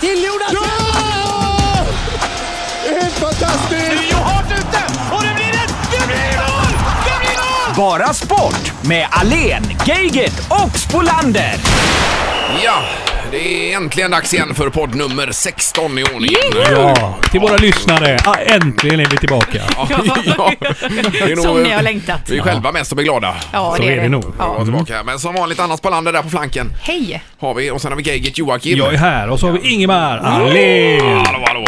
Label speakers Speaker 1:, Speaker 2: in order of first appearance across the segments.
Speaker 1: till Jonas!
Speaker 2: Ja! Det är Helt fantastiskt!
Speaker 3: Rio hårt ute och det blir ett... Det blir mål! Det blir mål!
Speaker 4: Bara sport med Alen, Geigert och Spolander.
Speaker 5: Ja, det är äntligen dags igen för podd nummer 16 i ordningen.
Speaker 6: Ja, till våra lyssnare. Ah, äntligen är vi tillbaka.
Speaker 5: Ja, det är nog-
Speaker 1: Som ni har längtat.
Speaker 5: Vi är själva mest som är glada.
Speaker 1: Ja,
Speaker 6: Så är det nog. Mm. Alltså,
Speaker 5: att vara
Speaker 1: Ja.
Speaker 5: Tillbaka. här. Men som vanligt annars Spolander där på flanken
Speaker 1: Hej!
Speaker 5: har vi och sen har vi Geigert Joakim.
Speaker 6: Jag är här och så har vi Ingemar Ahlén.
Speaker 5: Hallå, hallå.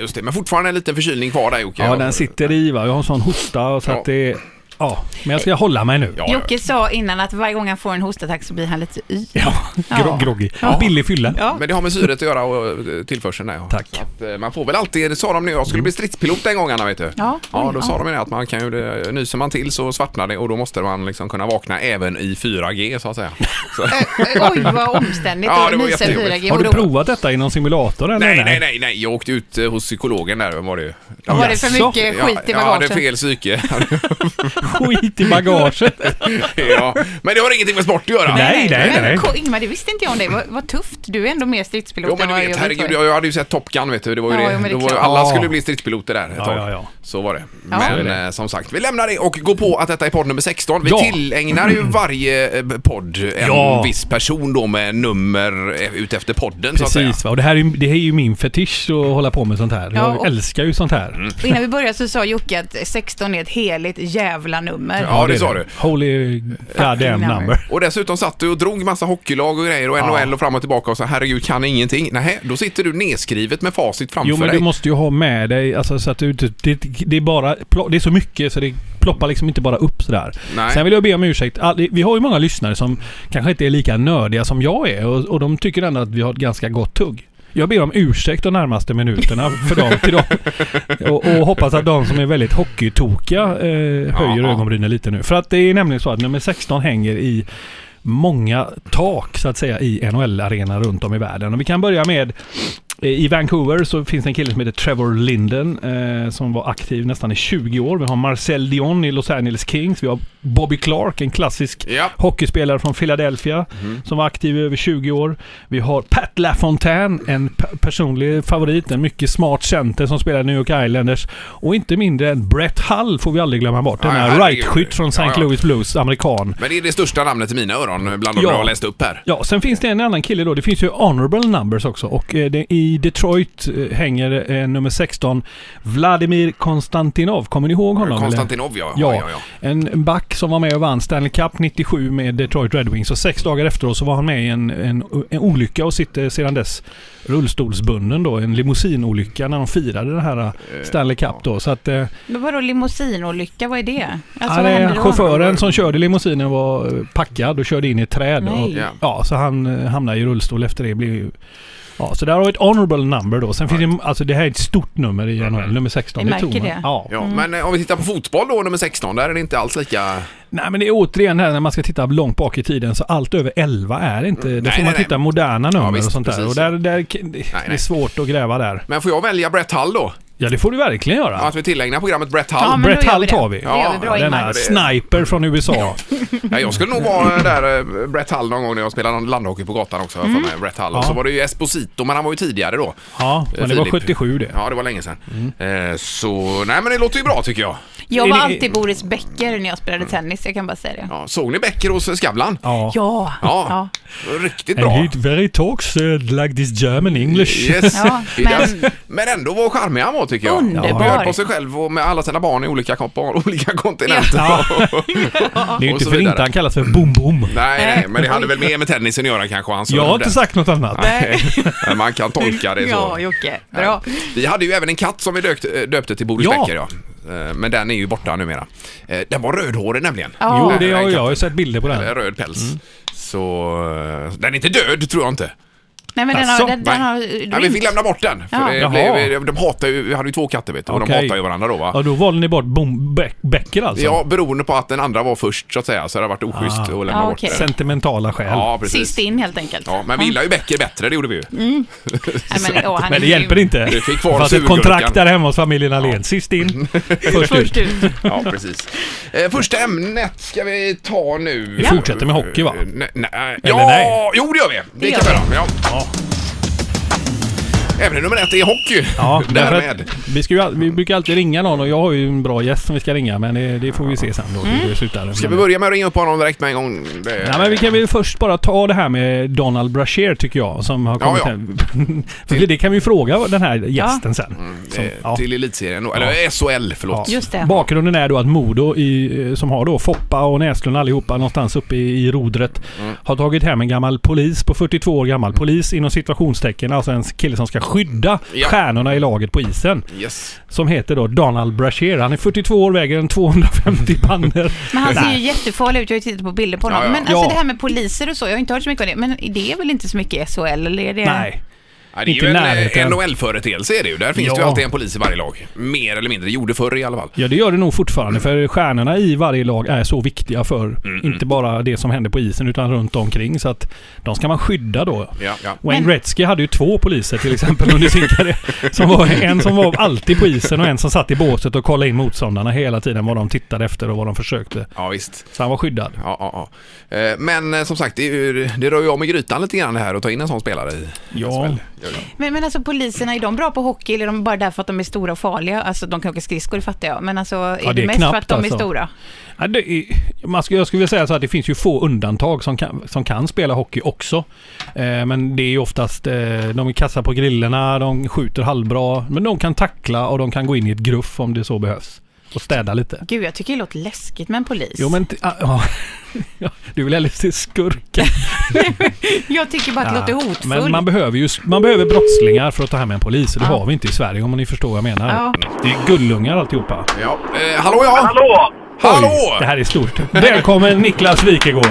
Speaker 5: Just det, men fortfarande en liten förkylning kvar där Jocke.
Speaker 6: Ja, den sitter i va. Jag har en sån hosta så att det... Ja, men jag ska hålla mig nu.
Speaker 5: Ja, ja.
Speaker 1: Jocke sa innan att varje gång han får en hostattack så blir han lite yr.
Speaker 6: Ja,
Speaker 1: Ja.
Speaker 6: gro- groggy.
Speaker 1: Ja.
Speaker 6: Billig fylla.
Speaker 1: Ja.
Speaker 5: Men det har med syret att göra och eh, tillförseln där. ja.
Speaker 6: Tack. Mm.
Speaker 5: Så Att, eh, man får väl alltid, det sa de nu, jag skulle bli stridspilot en gång Anna vet du.
Speaker 1: Ja,
Speaker 5: ja
Speaker 1: oj,
Speaker 5: då
Speaker 1: ja.
Speaker 5: sa de ju det att man kan ju, det- nyser man till så svartnar det och då måste man liksom kunna vakna även i 4G så att säga. Så,
Speaker 1: Oj, vad omständigt
Speaker 5: Ja,
Speaker 1: att
Speaker 5: det var
Speaker 1: nysa
Speaker 5: jättejobbigt.
Speaker 1: 4G.
Speaker 6: Har
Speaker 1: Och
Speaker 6: du
Speaker 1: då-
Speaker 6: provat detta i någon simulator eller?
Speaker 5: nej, nej, nej, nej, jag åkte ut eh, hos psykologen där, vem var det ju?
Speaker 1: Då Var det för
Speaker 6: Jaså?
Speaker 1: mycket
Speaker 5: Jag,
Speaker 1: skit i
Speaker 5: jag hade
Speaker 1: bagagen?
Speaker 5: fel psyke.
Speaker 6: Skit i bagaget.
Speaker 5: ja. Men det har ingenting med sport att göra.
Speaker 6: Nej, nej, nej,
Speaker 1: Men
Speaker 6: nej.
Speaker 1: Ko- Ingmar, det visste inte jag om dig. Vad, vad tufft. Du är ändå mer stridspilot
Speaker 5: Jo men
Speaker 1: än
Speaker 5: du
Speaker 1: vad
Speaker 5: vet,
Speaker 1: jag
Speaker 5: herregud,
Speaker 1: var.
Speaker 5: jag hade ju sett Top Gun vet du, det var ju
Speaker 1: Ja,
Speaker 5: det.
Speaker 1: jo, men det är
Speaker 5: det var, ju-
Speaker 1: klart.
Speaker 5: alla
Speaker 6: Ja.
Speaker 5: skulle bli stridspiloter där ett
Speaker 6: Ja,
Speaker 5: tag.
Speaker 6: ja, ja.
Speaker 5: Så var det.
Speaker 1: Ja.
Speaker 5: Men
Speaker 6: Så är det.
Speaker 5: eh, som sagt, vi lämnar det och går på att detta är podd nummer 16. Vi
Speaker 6: Ja.
Speaker 5: tillägnar ju varje eh, podd en
Speaker 6: Ja.
Speaker 5: viss person då med nummer eh, utefter podden så att säga.
Speaker 6: Precis va. Och det här är, ju- det här är ju min fetisch att hålla på med sånt här.
Speaker 1: Ja, och-
Speaker 6: Jag älskar ju sånt
Speaker 5: Mm.
Speaker 6: här.
Speaker 1: Och innan vi började så sa Jocke att 16 är ett heligt jävla nummer.
Speaker 5: Ja, det
Speaker 6: är
Speaker 5: sa du.
Speaker 6: Holy goddamn
Speaker 1: number.
Speaker 6: number.
Speaker 5: Och dessutom satt du och drog massa hockeylag och grejer och NHL och fram och tillbaka och så herregud kan ingenting. Nej, då sitter du nedskrivet med facit framför
Speaker 6: Jo men
Speaker 5: dig.
Speaker 6: du måste ju ha med dig, alltså, så att du inte- det, det är bara, plo- det är så mycket så det ploppar liksom inte bara upp sådär.
Speaker 5: Nej.
Speaker 6: Sen vill jag be om ursäkt. Ah, det- Vi har ju många lyssnare som kanske inte är lika nördiga som jag är och, och de tycker ändå att vi har ett ganska gott tugg. Jag ber om ursäkt de närmaste minuterna för dem, till dem. Och, och hoppas att de som är väldigt hockeytokiga eh, höjer
Speaker 5: Ja.
Speaker 6: ögonbrynen lite nu. För att det är nämligen så att nummer 16 hänger i många tak så att säga i NHL-arenan runt om i världen. Och vi kan börja med eh, i Vancouver så finns det en kille som heter Trevor Linden eh, som var aktiv nästan i 20 år. Vi har Marcel Dion i Los Angeles Kings. Vi har Bobby Clark, en klassisk
Speaker 5: Ja.
Speaker 6: hockeyspelare från Philadelphia
Speaker 5: Mhm.
Speaker 6: som var aktiv i över 20 år. Vi har Pat LaFontaine, en pe- personlig favorit, en mycket smart center som spelar i New York Islanders. Och inte mindre än Brett Hull får vi aldrig glömma bort. Den
Speaker 5: Nej,
Speaker 6: här
Speaker 5: herregud.
Speaker 6: right-skytt från St.
Speaker 5: Ja, ja.
Speaker 6: Louis Blues, amerikan.
Speaker 5: Men det är det största namnet i mina öron bland de
Speaker 6: Ja.
Speaker 5: jag har läst upp här.
Speaker 6: Ja, sen finns det en annan kille då. Det finns ju honorable numbers också. Och eh, det, i Detroit eh, hänger eh, nummer 16 Vladimir Konstantinov. Kommer ni ihåg honom? eller?
Speaker 5: Konstantinov ja.
Speaker 6: Ja,
Speaker 5: ja, ja, ja.
Speaker 6: en back som var med och vann Stanley Cup 97 med Detroit Red Wings. Och sex dagar efteråt så var han med i en, en, en olycka och sitter sedan dess rullstolsbunden då. En limousinolycka när de firade den här eh, Stanley Cup då. Så att... Eh,
Speaker 1: Men vadå limousinolycka? Vad är det? Alltså,
Speaker 6: Ja,
Speaker 1: vad
Speaker 6: det
Speaker 1: händer
Speaker 6: är
Speaker 1: då?
Speaker 6: chauffören som körde limousinen var eh, packad och körde in i ett träd.
Speaker 1: Nej.
Speaker 6: Och,
Speaker 1: Ja.
Speaker 6: ja, så han eh, hamnade i rullstol efter det. Blev ju, ja, så där har vi ett honorable number då. Sen finns det, alltså det här är ett stort nummer i NHL, nummer 16.
Speaker 1: Vi
Speaker 6: tog
Speaker 1: märker
Speaker 6: man.
Speaker 1: det.
Speaker 6: Ja.
Speaker 5: Ja, men eh, om vi tittar på fotboll då, nummer 16, där är det inte alls lika...
Speaker 6: Nej men det är återigen det här när man ska titta långt bak i tiden så allt över 11 är inte... Då
Speaker 5: Mm. Nej,
Speaker 6: får man
Speaker 5: nej,
Speaker 6: titta
Speaker 5: nej.
Speaker 6: moderna nummer
Speaker 5: visst,
Speaker 6: och sånt där.
Speaker 5: precis.
Speaker 6: Och där, där det är
Speaker 5: nej.
Speaker 6: svårt att gräva där.
Speaker 5: Men får jag välja Brett Hull då?
Speaker 6: Ja det får du verkligen göra.
Speaker 5: Att vi tillägnar programmet Brett Hull?
Speaker 1: Ja, men
Speaker 6: Brett
Speaker 1: då gör
Speaker 6: Hull
Speaker 1: vi det.
Speaker 6: tar vi.
Speaker 1: Det gör vi bra,
Speaker 6: den
Speaker 1: Ingmar.
Speaker 6: här sniper från USA.
Speaker 5: Ja, jag skulle nog vara eh, där eh, Brett Hull någon gång när jag spelade någon landhockey på gatan också. Mm. Med Brett Hull. Och så var det ju Esposito, men han var ju tidigare då.
Speaker 6: Ja, men det var
Speaker 5: Filip.
Speaker 6: 77 det.
Speaker 5: Ja, det var länge sedan.
Speaker 6: Mm.
Speaker 5: Eh, så, nej men det låter ju bra tycker jag.
Speaker 1: Jag var
Speaker 6: Är det-
Speaker 1: alltid Boris Becker när jag spelade tennis, jag kan bara säga det.
Speaker 5: Ja, såg ni Becker hos Skavlan?
Speaker 6: Ja.
Speaker 1: Ja.
Speaker 5: Ja, riktigt
Speaker 6: And
Speaker 5: bra.
Speaker 6: he very talks uh, like this German English.
Speaker 5: Yes.
Speaker 1: Ja,
Speaker 5: He
Speaker 1: men-
Speaker 5: does. men ändå var charmig han var tycker jag.
Speaker 1: Underbar.
Speaker 5: Bjöd på sig själv och med alla sina barn i olika, komp- olika kontinenter.
Speaker 6: Ja. Det är ju
Speaker 5: Och
Speaker 6: inte
Speaker 5: så
Speaker 6: för
Speaker 5: vidare.
Speaker 6: inte han kallas för Boom Boom.
Speaker 5: Nej, nej, men det hade väl mer med tennisen att göra kanske. Han sa
Speaker 6: Jag
Speaker 5: det
Speaker 6: har inte
Speaker 5: där.
Speaker 6: sagt något annat.
Speaker 5: Nej, men man kan tolka det så.
Speaker 1: Ja, Jocke. Bra.
Speaker 5: Vi hade ju även en katt som vi döpte, döpte till Boris
Speaker 6: Ja.
Speaker 5: Becker. Ja. Eh, Men den är ju borta numera. Eh, Den var rödhårig nämligen.
Speaker 1: Ja.
Speaker 6: Jo,
Speaker 5: Den
Speaker 6: det
Speaker 5: katten.
Speaker 6: har jag. Mm. Jag har sett bilder på
Speaker 5: Eh,
Speaker 6: den.
Speaker 5: Röd päls. Så eh, den är inte död tror jag inte.
Speaker 1: Nej, men den
Speaker 6: Asså?
Speaker 1: har... Den, den
Speaker 5: Nej.
Speaker 1: har
Speaker 5: Nej, vi fick lämna bort den. För
Speaker 1: Ja.
Speaker 5: det
Speaker 6: Jaha.
Speaker 5: blev, de hatar ju, vi hade ju två katter vet du, och de
Speaker 6: Okej.
Speaker 5: hatar ju varandra då va.
Speaker 6: Ja, då valde ni bort boom, Beck, Becker alltså?
Speaker 5: Ja, beroende på att den andra var först så att säga, så det har varit oschysst
Speaker 6: Ah.
Speaker 5: att lämna
Speaker 1: Ja,
Speaker 5: bort
Speaker 1: okej.
Speaker 5: den.
Speaker 6: Sentimentala skäl.
Speaker 5: Ja, precis.
Speaker 1: Sist Mm. in helt enkelt.
Speaker 5: Ja, men vi gillar ju Becker bättre, det gjorde vi ju.
Speaker 1: Nej, men, åh, han är
Speaker 6: Men det
Speaker 1: grym.
Speaker 6: hjälper inte.
Speaker 5: Vi fick kvar
Speaker 6: Fast ett
Speaker 5: surgurkan.
Speaker 6: kontrakt där hemma hos familjen Ahlén. Sist in, först ut.
Speaker 1: Först ut.
Speaker 5: Ja, precis. Eh, första ämnet ska vi ta nu.
Speaker 6: Vi fortsätter med hockey, va?
Speaker 5: Eh, Nej, nej. eh, Ja,
Speaker 6: nej?
Speaker 5: jo det gör vi. Det,
Speaker 1: gör
Speaker 5: kan vi göra. Ja. Ämne nummer ett är hockey.
Speaker 6: Ja, därför att
Speaker 5: Därmed.
Speaker 6: vi, ska ju, all- vi brukar alltid ringa någon och jag har ju en bra gäst som vi ska ringa men det, det får vi se sen då hur det slutar.
Speaker 5: Mm. Ska vi
Speaker 6: Men-
Speaker 5: börja med att ringa upp honom direkt med en gång? Det...
Speaker 6: Nej, men vi kan väl först bara ta det här med Donald Brashear tycker jag som har
Speaker 5: Ja,
Speaker 6: kommit
Speaker 5: ja.
Speaker 6: hem. För det kan vi ju fråga den här gästen sen. Som,
Speaker 5: eh,
Speaker 6: ja.
Speaker 5: Till elitserien då, eller SHL förlåt.
Speaker 6: Ja.
Speaker 1: Just det.
Speaker 6: Bakgrunden är då att Modo, i, eh, som har då Foppa och Näslund allihopa någonstans uppe i, i rodret,
Speaker 5: Mm.
Speaker 6: har tagit hem en gammal polis på 42 år gammal. Polis inom situationstecken, alltså en kille som ska skydda
Speaker 5: Ja.
Speaker 6: stjärnorna i laget på isen.
Speaker 5: Yes.
Speaker 6: Som heter då Donald Brashear. Han är 42 år, väger en 250 pannor.
Speaker 1: Men han ser ju jättefarlig ut. Jag har ju tittat på bilder på honom.
Speaker 5: Ja, ja.
Speaker 1: Men alltså
Speaker 6: Ja.
Speaker 1: det här med poliser och så, jag har inte hört så mycket om det. Men det är väl inte så mycket i SHL? Eller är det...
Speaker 6: Nej.
Speaker 5: Ja, det är
Speaker 6: Inte
Speaker 5: ju en eh,
Speaker 6: närheten.
Speaker 5: NHL-företeelse är det ju. Där finns det ju
Speaker 6: Ja.
Speaker 5: alltid en polis i varje lag. Mer eller mindre. Gjorde förr i alla fall.
Speaker 6: Ja, det gör det nog fortfarande. För stjärnorna i varje lag är så viktiga
Speaker 5: Mm,
Speaker 6: för inte bara det som händer på isen utan runt omkring. Så att de ska man skydda då.
Speaker 5: Ja, ja.
Speaker 6: Wayne
Speaker 1: Men-
Speaker 6: Gretzky hade ju två poliser till exempel under sin karriär. Som var, en som var alltid på isen och en som satt i båset och kollade in motståndarna hela tiden vad de tittade efter och vad de försökte.
Speaker 5: Ja, visst.
Speaker 6: Så han var skyddad.
Speaker 5: Ja, ja, ja. Eh, Men eh, som sagt, det, är ju- det rör ju om i grytan lite grann det här att ta in en sån spelare i
Speaker 6: Ja.
Speaker 5: SHL.
Speaker 1: Men, men alltså poliserna, är de bra på hockey eller är de bara där för att de är stora och farliga? Alltså de kan åka skridskor, det fattar jag. Men alltså är
Speaker 6: det
Speaker 1: det,
Speaker 6: är
Speaker 1: mest
Speaker 6: knappt,
Speaker 1: för att de
Speaker 6: alltså.
Speaker 1: är stora?
Speaker 6: Ja, det är, man skulle, jag skulle vilja säga så att det finns ju få undantag som kan, som kan spela hockey också. Eh, men det är ju oftast, eh, de är kassa på grillorna, de skjuter halvbra, men de kan tackla och de kan gå in i ett gruff om det så behövs. Och städa lite.
Speaker 1: Gud, jag tycker det låter läskigt med en polis.
Speaker 6: Jo men, t- ah, ja. Ja, du vill hellre se skurken.
Speaker 1: Jag tycker bara att det låter hotfullt.
Speaker 6: Men man behöver ju man behöver brottslingar för att ta hem en polis. och Det
Speaker 1: Ja.
Speaker 6: har vi inte i Sverige om ni förstår vad jag menar.
Speaker 1: Ja.
Speaker 6: Det är gullungar alltihopa.
Speaker 5: Ja. Eh, hallå ja!
Speaker 2: Hallå!
Speaker 5: Hallå!
Speaker 6: Det här är stort. Välkommen Niklas Wikegård.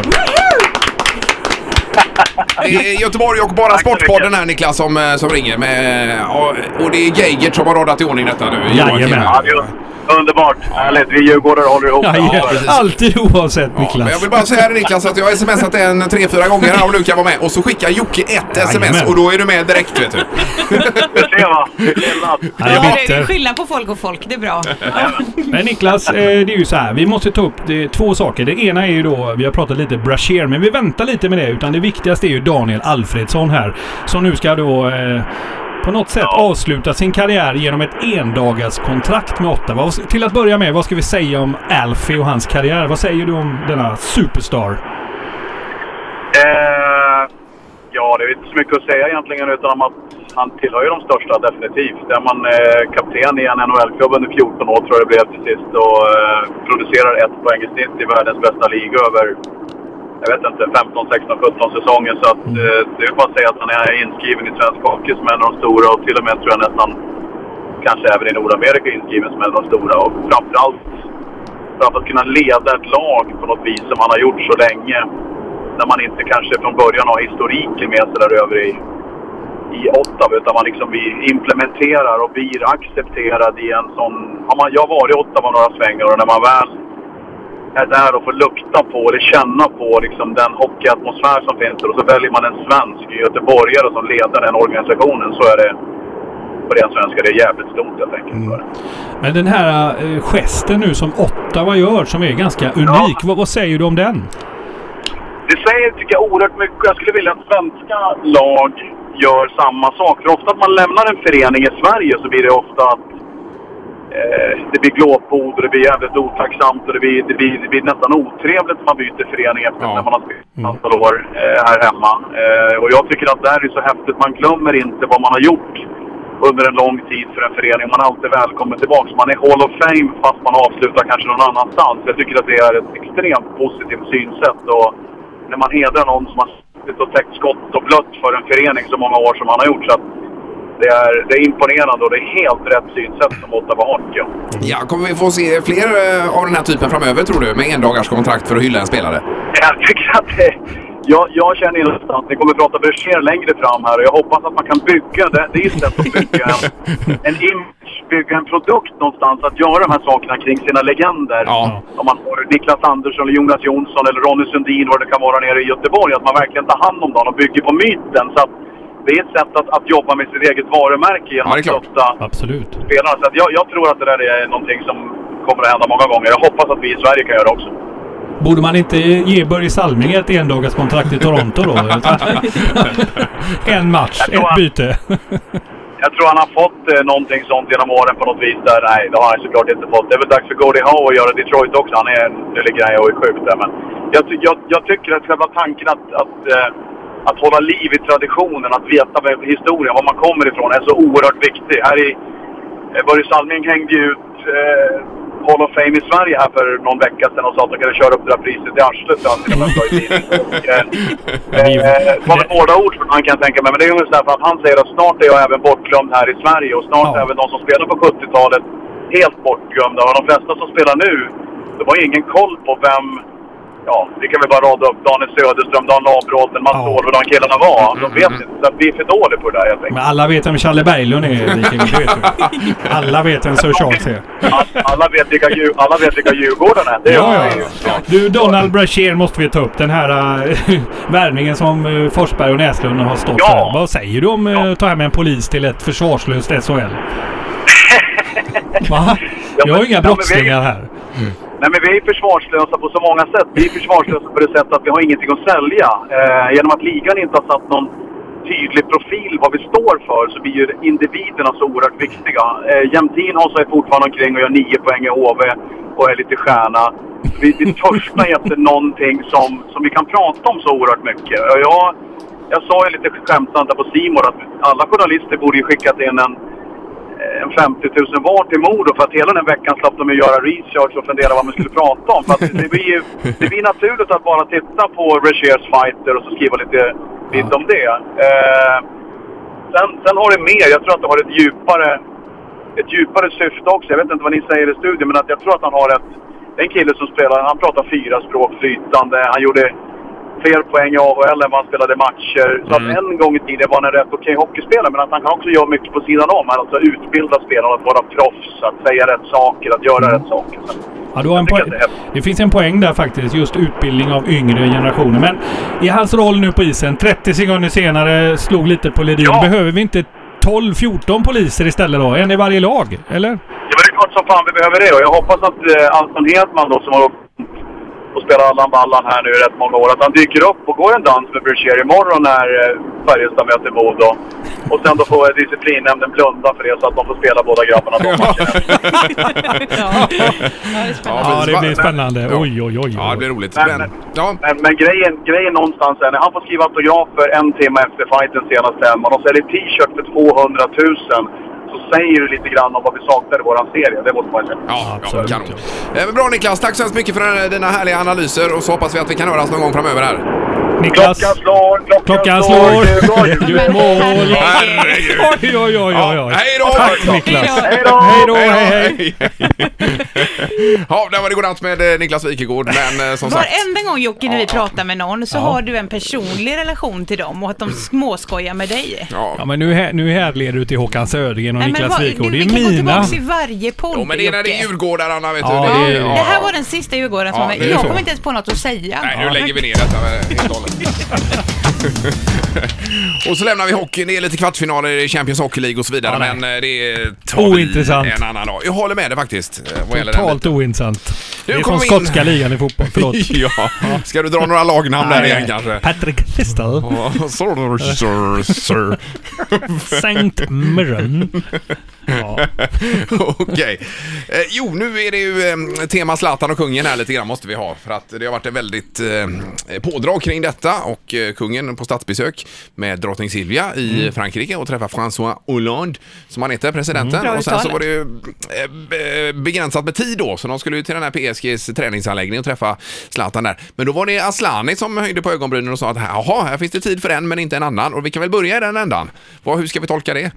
Speaker 5: Det är Göteborg och bara
Speaker 2: Tack så
Speaker 5: Sportpodden här Niklas som, eh, som ringer. Med, och, och det är Geigert som har radat i ordning detta nu.
Speaker 6: Jajamän.
Speaker 5: Joakim.
Speaker 2: Ja, det är underbart. Härligt. Vi djurgårdare håller ihop.
Speaker 6: Ja,
Speaker 5: precis.
Speaker 6: alltid oavsett
Speaker 5: Ja, men
Speaker 6: Niklas.
Speaker 5: jag vill bara säga det Niklas att jag har smsat en tre, fyra gånger här om du kan vara med. Och så skickar Jocke ett sms
Speaker 6: Jajamän.
Speaker 5: och då är du med direkt vet du.
Speaker 2: Du ser va? Skillnad.
Speaker 6: Ja, jag
Speaker 1: Ja,
Speaker 6: vet
Speaker 1: det är
Speaker 6: det.
Speaker 1: skillnad på folk och folk, det är bra.
Speaker 6: Men Niklas, eh, det är ju så här. Vi måste ta upp det, två saker. Det ena är ju då, vi har pratat lite Brashear, men vi väntar lite med det. Utan det viktigaste är ju Daniel Alfredsson här. Som nu ska då eh, på något sätt avsluta sin karriär genom ett endagarskontrakt med Ottawa. Och Till att börja med, vad ska vi säga om Alfie och hans karriär? Vad säger du om denna superstar?
Speaker 2: Eh, ja, det är inte så mycket att säga egentligen utan om att han tillhör ju de största definitivt. Där man eh, kapten i en NHL-klubb under 14 år tror jag det blev till sist och eh, producerar ett poäng i snitt i världens bästa liga över jag vet inte, 15, 16, 17 säsonger. Så att, eh, det är bara att säga att han är inskriven i svensk hockey som en av de stora och till och med tror jag nästan kanske även i Nordamerika inskriven som en av de stora. Och framförallt för att kunna leda ett lag på något vis som han har gjort så länge. När man inte kanske från början har historiken med sig där över i, i Ottawa. Utan man liksom blir- implementerar och blir accepterad i en sån... Ja, man, jag har varit i Ottawa några svängar och när man väl är där och får lukta på eller känna på liksom den hockeyatmosfär som finns där. Och så väljer man en svensk göteborgare som leder den organisationen. Så är det på den svenska. Det är jävligt stort helt enkelt.
Speaker 6: Men den här eh, gesten nu som Ottawa gör, som är ganska unik. Vad, vad säger du om den?
Speaker 2: Det säger, tycker jag, oerhört mycket. Jag skulle vilja att svenska lag gör samma sak. För ofta att man lämnar en förening i Sverige så blir det ofta att eh, det blir glåpord och det blir jävligt otacksamt och det blir, det blir, det blir nästan otrevligt när man byter förening efter
Speaker 5: Ja.
Speaker 2: när man har spelat ett antal år eh, här hemma. Eh, och jag tycker att det här är så häftigt. Man glömmer inte vad man har gjort under en lång tid för en förening. Man är alltid välkommen tillbaka. Man är Hall of Fame fast man avslutar kanske någon annanstans. Jag tycker att det är ett extremt positivt synsätt. Och när man hedrar någon som har suttit och täckt skott och blött för en förening så många år som han har gjort. Så att det, är, det är imponerande och det är helt rätt synsätt som Ottawa har tycker jag.
Speaker 5: Ja, kommer vi få se fler eh, av den här typen framöver tror du? Med endagarskontrakt för att hylla en spelare?
Speaker 2: Jag tycker att det, jag, jag känner ju någonstans, ni kommer prata Berger längre fram här och jag hoppas att man kan bygga, det, det är ju ett sätt att bygga en, en image, bygga en produkt någonstans, att göra de här sakerna kring sina legender.
Speaker 5: Ja.
Speaker 2: Om man har Niklas Andersson, eller Jonas Jonsson eller Ronny Sundin, vad det kan vara nere i Göteborg, att man verkligen tar hand om dem och bygger på myten. Så att det är ett sätt att, att jobba med sitt eget varumärke genom
Speaker 5: Ja, det är
Speaker 2: att
Speaker 5: klart.
Speaker 2: stötta
Speaker 6: Absolut.
Speaker 2: spelarna. Så att jag, jag tror att det där är någonting som kommer att hända många gånger. Jag hoppas att vi i Sverige kan göra det också.
Speaker 6: Borde man inte ge Börje Salming ett endagarskontrakt i Toronto då? en match, ett byte.
Speaker 2: Jag tror han har fått eh, någonting sånt genom åren på något vis där. Nej, det har han såklart inte fått. Det är väl dags för Goldie Howe att göra Detroit också. Han är, nu ligger han ju och är sjuk där, men jag, ty- jag, jag tycker att själva tanken att, att, eh, att hålla liv i traditionen, att veta vem- historien, var man kommer ifrån, är så oerhört viktig. Här i eh, Börje Salming hängde ju ut eh, Hall of Fame i Sverige här för någon vecka sedan och sa att de kunde köra upp det där priset i arslet. så han till och med sa i tidningen. Och, eh, Eh, Det var väl hårda ord från han kan jag tänka mig, men det är ungefär för att han säger att snart är jag även bortglömd här i Sverige och snart
Speaker 6: Ja.
Speaker 2: är även de som spelade på 70-talet helt bortglömda. Och de flesta som spelar nu, de har ju ingen koll på vem, ja, vi kan väl bara rada upp Daniel Söderström, Dan Labråten, Mats
Speaker 6: Ja. Mm,
Speaker 2: Åhlund och de killarna var. De vet inte, så att vi är för dåliga på det där helt enkelt.
Speaker 6: Men alla vet vem Challe Berglund är, Viking. Det vet du. Alla vet vem Sir Charles är.
Speaker 2: All- Alla vet vilka, Djur- alla vet vilka Djurgården är. Det är
Speaker 6: Ja, ja, ja. Du, Donald Brashear måste vi ta upp. Den här äh, värvningen som äh, Forsberg och Näslund har stått
Speaker 2: Ja.
Speaker 6: för. Vad säger du om äh, att ta hem en polis till ett försvarslöst SHL? Va? Vi har ju inga
Speaker 2: ja, men vi-
Speaker 6: brottslingar här.
Speaker 2: Nej, men vi är försvarslösa på så många sätt. Vi är försvarslösa på det sättet att vi har ingenting att sälja. Eh, genom att ligan inte har satt någon tydlig profil vad vi står för så blir ju individerna så oerhört viktiga. Eh, Jämtin har är fortfarande omkring och gör nio poäng i HV och är lite stjärna. Vi, vi törstar efter någonting som, som vi kan prata om så oerhört mycket. Och Jag, jag sa ju lite skämtsamt där på Simor att alla journalister borde ju skickat in en eh, en 50 000 var till Modo för att hela den veckan slapp de ju göra research och fundera vad man skulle prata om. För att det blir ju det blir naturligt att bara titta på Regiers fighter och så skriva lite lite om det. Eh, sen, sen har det mer, jag tror att det har ett djupare, ett djupare syfte också. Jag vet inte vad ni säger i studion men att jag tror att han har ett... Det är en kille som spelar, han pratar fyra språk flytande. Han gjorde fler poäng i AHL än vad han spelade matcher. Så att en gång i tiden var han en rätt okej hockeyspelare, men att han kan också göra mycket på sidan om. Alltså utbilda spelarna att vara proffs, att säga rätt saker, att göra rätt saker. Så,
Speaker 6: Ja, du har en
Speaker 2: Jag
Speaker 6: poäng.
Speaker 2: tycker att det
Speaker 6: Det finns en poäng där faktiskt. Just utbildning av yngre generationer. Men i hans roll nu på isen, 30 sekunder senare, slog lite på Ledin.
Speaker 2: Ja.
Speaker 6: Behöver vi inte 12-14 poliser istället då? En i varje lag, eller?
Speaker 2: Ja, men det är klart som fan vi behöver det. Och jag hoppas att eh, Anton Hedman då, som har åkt och spelat Allan Ballan här nu i rätt många år, att han dyker upp och går en dans med Brashear imorgon när eh, Färjestad möter Modo. Och sen då får eh, disciplinnämnden blunda för det så att de får spela båda grabbarna de matcherna.
Speaker 1: ja. ja, det är spännande.
Speaker 5: Ja,
Speaker 6: Ja,
Speaker 5: precis.
Speaker 6: det blir
Speaker 5: Va-
Speaker 6: spännande.
Speaker 5: Ja.
Speaker 6: Oj, oj, oj.
Speaker 5: Ja, det blir roligt.
Speaker 2: Men-
Speaker 5: Men, ja,
Speaker 2: Men, men grejen, grejen någonstans är när han får skriva autografer en timme efter fighten senast hemma och de säljer t-shirt för 200 000 så säger det lite grann om vad vi saknar i våran serie. Det måste man säga.
Speaker 5: ja, ja
Speaker 6: Absolut,
Speaker 5: kanon. Eh, men Bra Niklas, tack så hemskt mycket för eh, dina härliga analyser och så hoppas vi att vi kan höras någon gång framöver här.
Speaker 6: Niklas.
Speaker 2: Klockan slår, klockan,
Speaker 6: Klockan
Speaker 2: slår,
Speaker 6: slår.
Speaker 2: Djurgården.
Speaker 6: Gör mål.
Speaker 5: Herregud.
Speaker 6: Oj, oj, oj, oj, oj.
Speaker 5: Hej då!
Speaker 6: Tack Niklas.
Speaker 1: Hej då.
Speaker 2: Hej då!
Speaker 6: Hej då, hej, hej.
Speaker 5: ja, det var det godnatt med eh, Niklas Wikegård, men eh, som sagt...
Speaker 1: Varenda gång Jocke, när vi pratar med någon så har du en personlig relation till dem och att de småskojar med dig.
Speaker 6: Ja,
Speaker 5: Ja.
Speaker 6: men nu, här, nu härleder du till Håkan Södergren och
Speaker 1: Nej, men
Speaker 6: Niklas
Speaker 1: vad- du,
Speaker 6: Wikgård. Det
Speaker 1: vi
Speaker 6: är
Speaker 1: kan gå
Speaker 6: mina.
Speaker 1: tillbaka i varje podd,
Speaker 5: Jo, men det är när det är
Speaker 1: Jocke.
Speaker 5: Djurgårdarna, vet du.
Speaker 6: Ja, det är-
Speaker 1: Det här var den sista Djurgården som
Speaker 5: Ja,
Speaker 1: var
Speaker 5: det
Speaker 1: med.
Speaker 5: är
Speaker 1: Jag
Speaker 5: så.
Speaker 1: kommer inte ens på något att säga.
Speaker 5: Nej, nu lägger vi ner detta med helt och hållet. Och så lämnar vi hockeyn. Det är lite kvartsfinaler i Champions Hockey League och så vidare.
Speaker 6: Ja, nej.
Speaker 5: men eh, det tar
Speaker 6: Ointressant.
Speaker 5: vi en annan dag. Jag håller med dig faktiskt. eh, Vad gäller den.
Speaker 6: Totalt ointressant. Det är
Speaker 5: kom
Speaker 6: som
Speaker 5: in.
Speaker 6: skotska ligan i fotboll. Förlåt.
Speaker 5: Ja. Ska du dra några lagnamn där igen kanske?
Speaker 6: Patrick Thistle.
Speaker 5: Ja, sir, sir, sir.
Speaker 6: Sankt Mirren. Ja.
Speaker 5: Okej. Eh, jo, nu är det ju eh, tema Zlatan och kungen här lite grann måste vi ha. För att det har varit en väldigt eh, pådrag kring detta och eh, kungen på statsbesök med drottning Silvia i
Speaker 1: Mm.
Speaker 5: Frankrike och träffar François Hollande som han heter, presidenten.
Speaker 1: Mm, Bra
Speaker 5: Och sen så
Speaker 1: uttalat.
Speaker 5: var det ju eh, be- begränsat med tid då så de skulle ju till den här PSGs träningsanläggning och träffa Zlatan där. Men då var det Aslani som höjde på ögonbrynen och sa att jaha, här finns det tid för en men inte en annan och vi kan väl börja i den ändan. Vad, hur ska vi tolka det?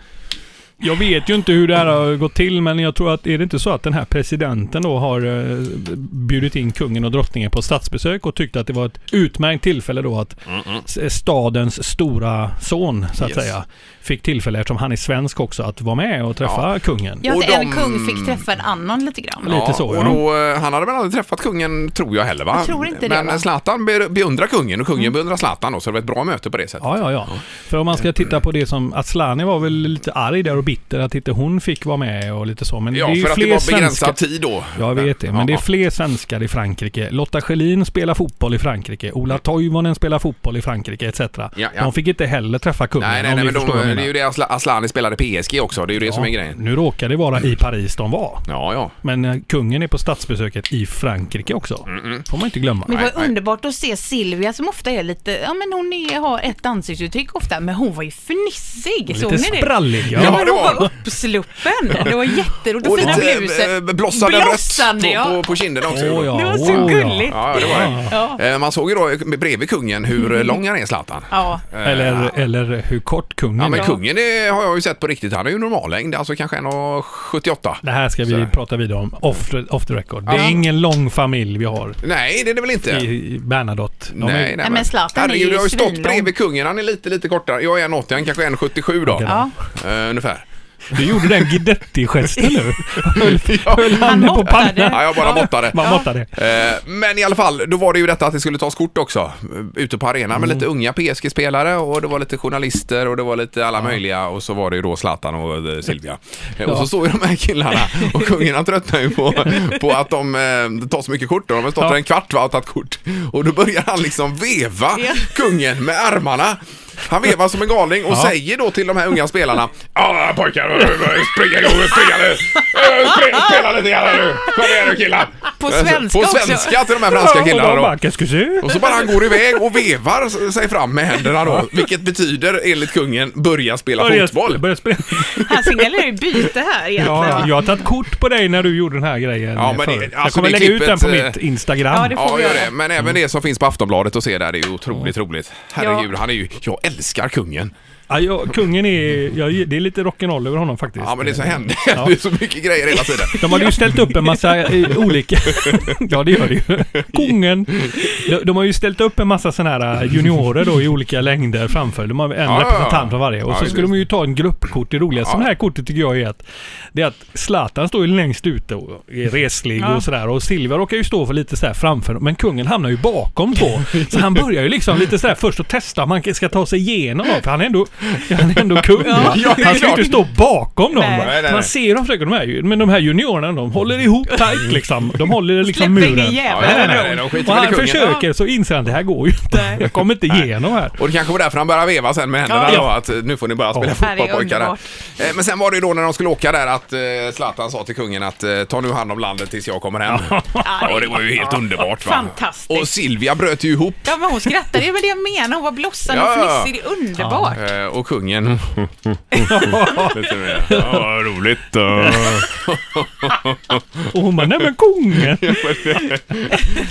Speaker 6: Jag vet ju inte hur det här har gått till, men jag tror att är det inte så att den här presidenten då har eh, bjudit in kungen och drottningen på statsbesök och tyckte att det var ett utmärkt tillfälle då att s- stadens stora son, så att
Speaker 5: Yes.
Speaker 6: säga, fick tillfälle, eftersom han är svensk också, att vara med och träffa kungen.
Speaker 1: Ja, att
Speaker 5: Och
Speaker 1: en
Speaker 5: de-
Speaker 1: kung fick träffa en annan lite grann.
Speaker 6: Lite så,
Speaker 5: och
Speaker 6: ja.
Speaker 5: då, eh, Han hade väl aldrig träffat kungen, tror jag heller va?
Speaker 1: Jag tror inte det,
Speaker 5: Men
Speaker 1: va? Mm.
Speaker 5: Zlatan be- beundrar kungen och kungen beundrar Zlatan då, så det var ett bra möte på det sättet.
Speaker 6: Ja, ja, ja. För om man ska titta på det som... Aslani var väl lite arg där och bitter att inte hon fick vara med och lite så. Men
Speaker 5: Ja,
Speaker 6: det är ju
Speaker 5: för att
Speaker 6: fler
Speaker 5: det var begränsad
Speaker 6: svenskar...
Speaker 5: tid då.
Speaker 6: Jag vet det, men
Speaker 5: Ja,
Speaker 6: det är
Speaker 5: ja.
Speaker 6: fler svenskar i Frankrike. Lotta Schelin spelar fotboll i Frankrike. Ola Toivonen spelar fotboll i Frankrike etc.
Speaker 5: Mm. ja.
Speaker 6: De fick inte heller träffa kungen
Speaker 5: Nej, nej,
Speaker 6: om
Speaker 5: nej,
Speaker 6: ni
Speaker 5: men
Speaker 6: förstår vad jag
Speaker 5: men det är
Speaker 6: menar.
Speaker 5: ju det Asla- Asllani spelade PSG också. Det är ju det som är grejen.
Speaker 6: Nu råkar det vara i Paris de var.
Speaker 5: Ja, ja.
Speaker 6: Men eh, kungen är på statsbesöket i Frankrike också.
Speaker 5: Mm,
Speaker 6: får man inte glömma.
Speaker 1: Men det var
Speaker 5: nej.
Speaker 1: underbart att se Silvia som ofta är lite, ja men hon är, har ett ansiktsuttryck ofta, men hon var ju fnissig. Såg ni
Speaker 6: Lite
Speaker 1: det?
Speaker 6: sprallig.
Speaker 1: Ja,
Speaker 5: Ja,
Speaker 6: Ja.
Speaker 1: men
Speaker 5: det
Speaker 1: hon
Speaker 5: var
Speaker 1: var uppsluppen. Det var jätteroligt. Och fina
Speaker 5: eh,
Speaker 1: blusen.
Speaker 5: blossade
Speaker 1: Blossande,
Speaker 5: rött
Speaker 1: ja.
Speaker 5: på, på, på kinderna också.
Speaker 6: Åh,
Speaker 5: ja.
Speaker 1: Det var
Speaker 6: Åh,
Speaker 1: så gulligt.
Speaker 5: ja, det var det.
Speaker 1: Ja.
Speaker 5: Eh, Man såg ju då bredvid kungen hur
Speaker 6: Mm.
Speaker 5: eh, lång han är, Zlatan.
Speaker 1: Ja.
Speaker 5: Eh,
Speaker 6: Eller, eller hur kort kungen
Speaker 5: Ja, men
Speaker 6: är.
Speaker 5: kungen det har jag ju sett på riktigt. Han är ju normallängd, alltså kanske 1,78.
Speaker 6: Det här ska vi
Speaker 5: Så.
Speaker 6: prata vidare om off, off the record. Det
Speaker 5: Ja.
Speaker 6: är ingen lång familj vi har
Speaker 5: Nej, det är det väl inte?
Speaker 6: i i Bernadotte. De är-
Speaker 5: Nej, nej,
Speaker 1: men Zlatan är
Speaker 5: Herregud,
Speaker 1: ju
Speaker 5: jag har ju stått
Speaker 1: svinlång.
Speaker 5: bredvid kungen. Han är lite, lite kortare. Jag är 1,80, han kanske är 1,77 då.
Speaker 1: Ja.
Speaker 5: Eh, ungefär.
Speaker 6: Du gjorde den Guidetti-gesten nu. Höll,
Speaker 5: Ja.
Speaker 6: höll handen på
Speaker 1: måttade.
Speaker 6: pannan.
Speaker 5: Ja, jag bara måttade.
Speaker 6: Man måttade.
Speaker 5: Eh, Men i alla fall, då var det ju detta att det skulle tas kort också. eh, Ute på arenan med lite unga PSG-spelare och det var lite journalister och det var lite alla möjliga och så var det ju då Zlatan och eh, Silvia. Eh, Och så står ju de här killarna och kungarna tröttnar ju på, på att de eh, tar så mycket kort. då. De har väl stått
Speaker 6: Ja.
Speaker 5: där en kvart va, och tagit kort. Och då börjar han liksom veva
Speaker 1: Ja.
Speaker 5: kungen med armarna. Han vevar som en galning och säger då till de här unga spelarna Ja pojkar, spring igång, springa nu! Eh, spring- Spela lite grann här nu! Kom igen nu killar!
Speaker 1: På svenska
Speaker 5: Alltså, På
Speaker 1: också.
Speaker 5: svenska till de här franska killarna
Speaker 6: Och de
Speaker 5: då.
Speaker 6: bara, "Qu'est-ce que c'est?"
Speaker 5: Och så bara han går iväg och vevar sig fram med händerna då, vilket betyder enligt kungen börja spela
Speaker 6: Börja-
Speaker 5: fotboll.
Speaker 6: börja spela.
Speaker 1: Han signalerar ju byte här egentligen.
Speaker 6: Ja, jag har tagit kort på dig när du gjorde den här grejen.
Speaker 5: Ja, men det-
Speaker 6: förut. jag
Speaker 5: alltså,
Speaker 6: kommer
Speaker 5: det
Speaker 6: lägga ut den
Speaker 5: klippet,
Speaker 6: på
Speaker 5: eh,
Speaker 6: mitt Instagram.
Speaker 1: Ja, det får
Speaker 5: Ja,
Speaker 1: vi
Speaker 5: gör
Speaker 1: göra.
Speaker 5: det. Men även det som finns på Aftonbladet att se där, det är ju otroligt roligt. Herregud, han är ju... Jag älskar kungen.
Speaker 6: Ja, jag, kungen är... Jag, det är lite rock'n'roll över honom faktiskt.
Speaker 5: Ja, men det är så händer. Det är så mycket grejer hela tiden.
Speaker 6: De hade ju ställt upp en massa eh, olika... ja, det gör det ju. Kungen. De, de har ju ställt upp en massa sådana här eh, juniorer då i olika längder framför. De har en
Speaker 5: Ah, ja, ja.
Speaker 6: representant för varje. Och
Speaker 5: Ja,
Speaker 6: så
Speaker 5: just
Speaker 6: skulle de ju ta en gruppkort. Det roligaste
Speaker 5: Ja.
Speaker 6: med det här kortet tycker jag är att... Det är att Zlatan står ju längst ute och är reslig
Speaker 1: Ja.
Speaker 6: och sådär. Och Silva råkar ju stå för lite sådär framför. Men kungen hamnar ju bakom två. Så han börjar ju liksom lite sådär först att testa om han ska ta sig igenom dem. För han är ändå, han är ändå kung.
Speaker 5: Ja, det är
Speaker 6: han ska ju
Speaker 5: klart.
Speaker 6: inte stå bakom dem.
Speaker 1: Nej.
Speaker 6: va?
Speaker 5: Nej, nej, nej.
Speaker 6: Man ser dem försöker, de här, ju- men de här juniorerna de håller ihop tajt liksom. De håller liksom
Speaker 1: Släpper ingen
Speaker 6: muren.
Speaker 1: jävel.
Speaker 5: Ja, ja, nej, nej, de skiter väl
Speaker 6: Och
Speaker 5: i
Speaker 6: han
Speaker 5: kungen.
Speaker 6: försöker så inser han det här går ju inte. Jag kommer inte igenom här.
Speaker 5: Och det kanske var därför han började veva sen med händerna
Speaker 6: Ja.
Speaker 5: då, att eh, nu får ni bara spela
Speaker 6: Ja.
Speaker 5: fotboll
Speaker 1: Ja, det är
Speaker 5: pojkar. här.
Speaker 1: underbart.
Speaker 5: Eh, Men sen var det ju då när de skulle åka där att eh, Zlatan sa till kungen att eh, ta nu hand om landet tills jag kommer hem. Ja, det var ju helt underbart va?
Speaker 1: Fantastiskt.
Speaker 5: Och Silvia bröt ju ihop
Speaker 1: Ja, men hon skrattade. Det är väl det jag menar. Hon var blossande
Speaker 5: Ja,
Speaker 1: och
Speaker 5: ja.
Speaker 1: fnissig. Det är underbart.
Speaker 5: eh, och kungen... Lite mer. Ja, vad roligt. eh.
Speaker 6: Och hon bara, nej men kungen.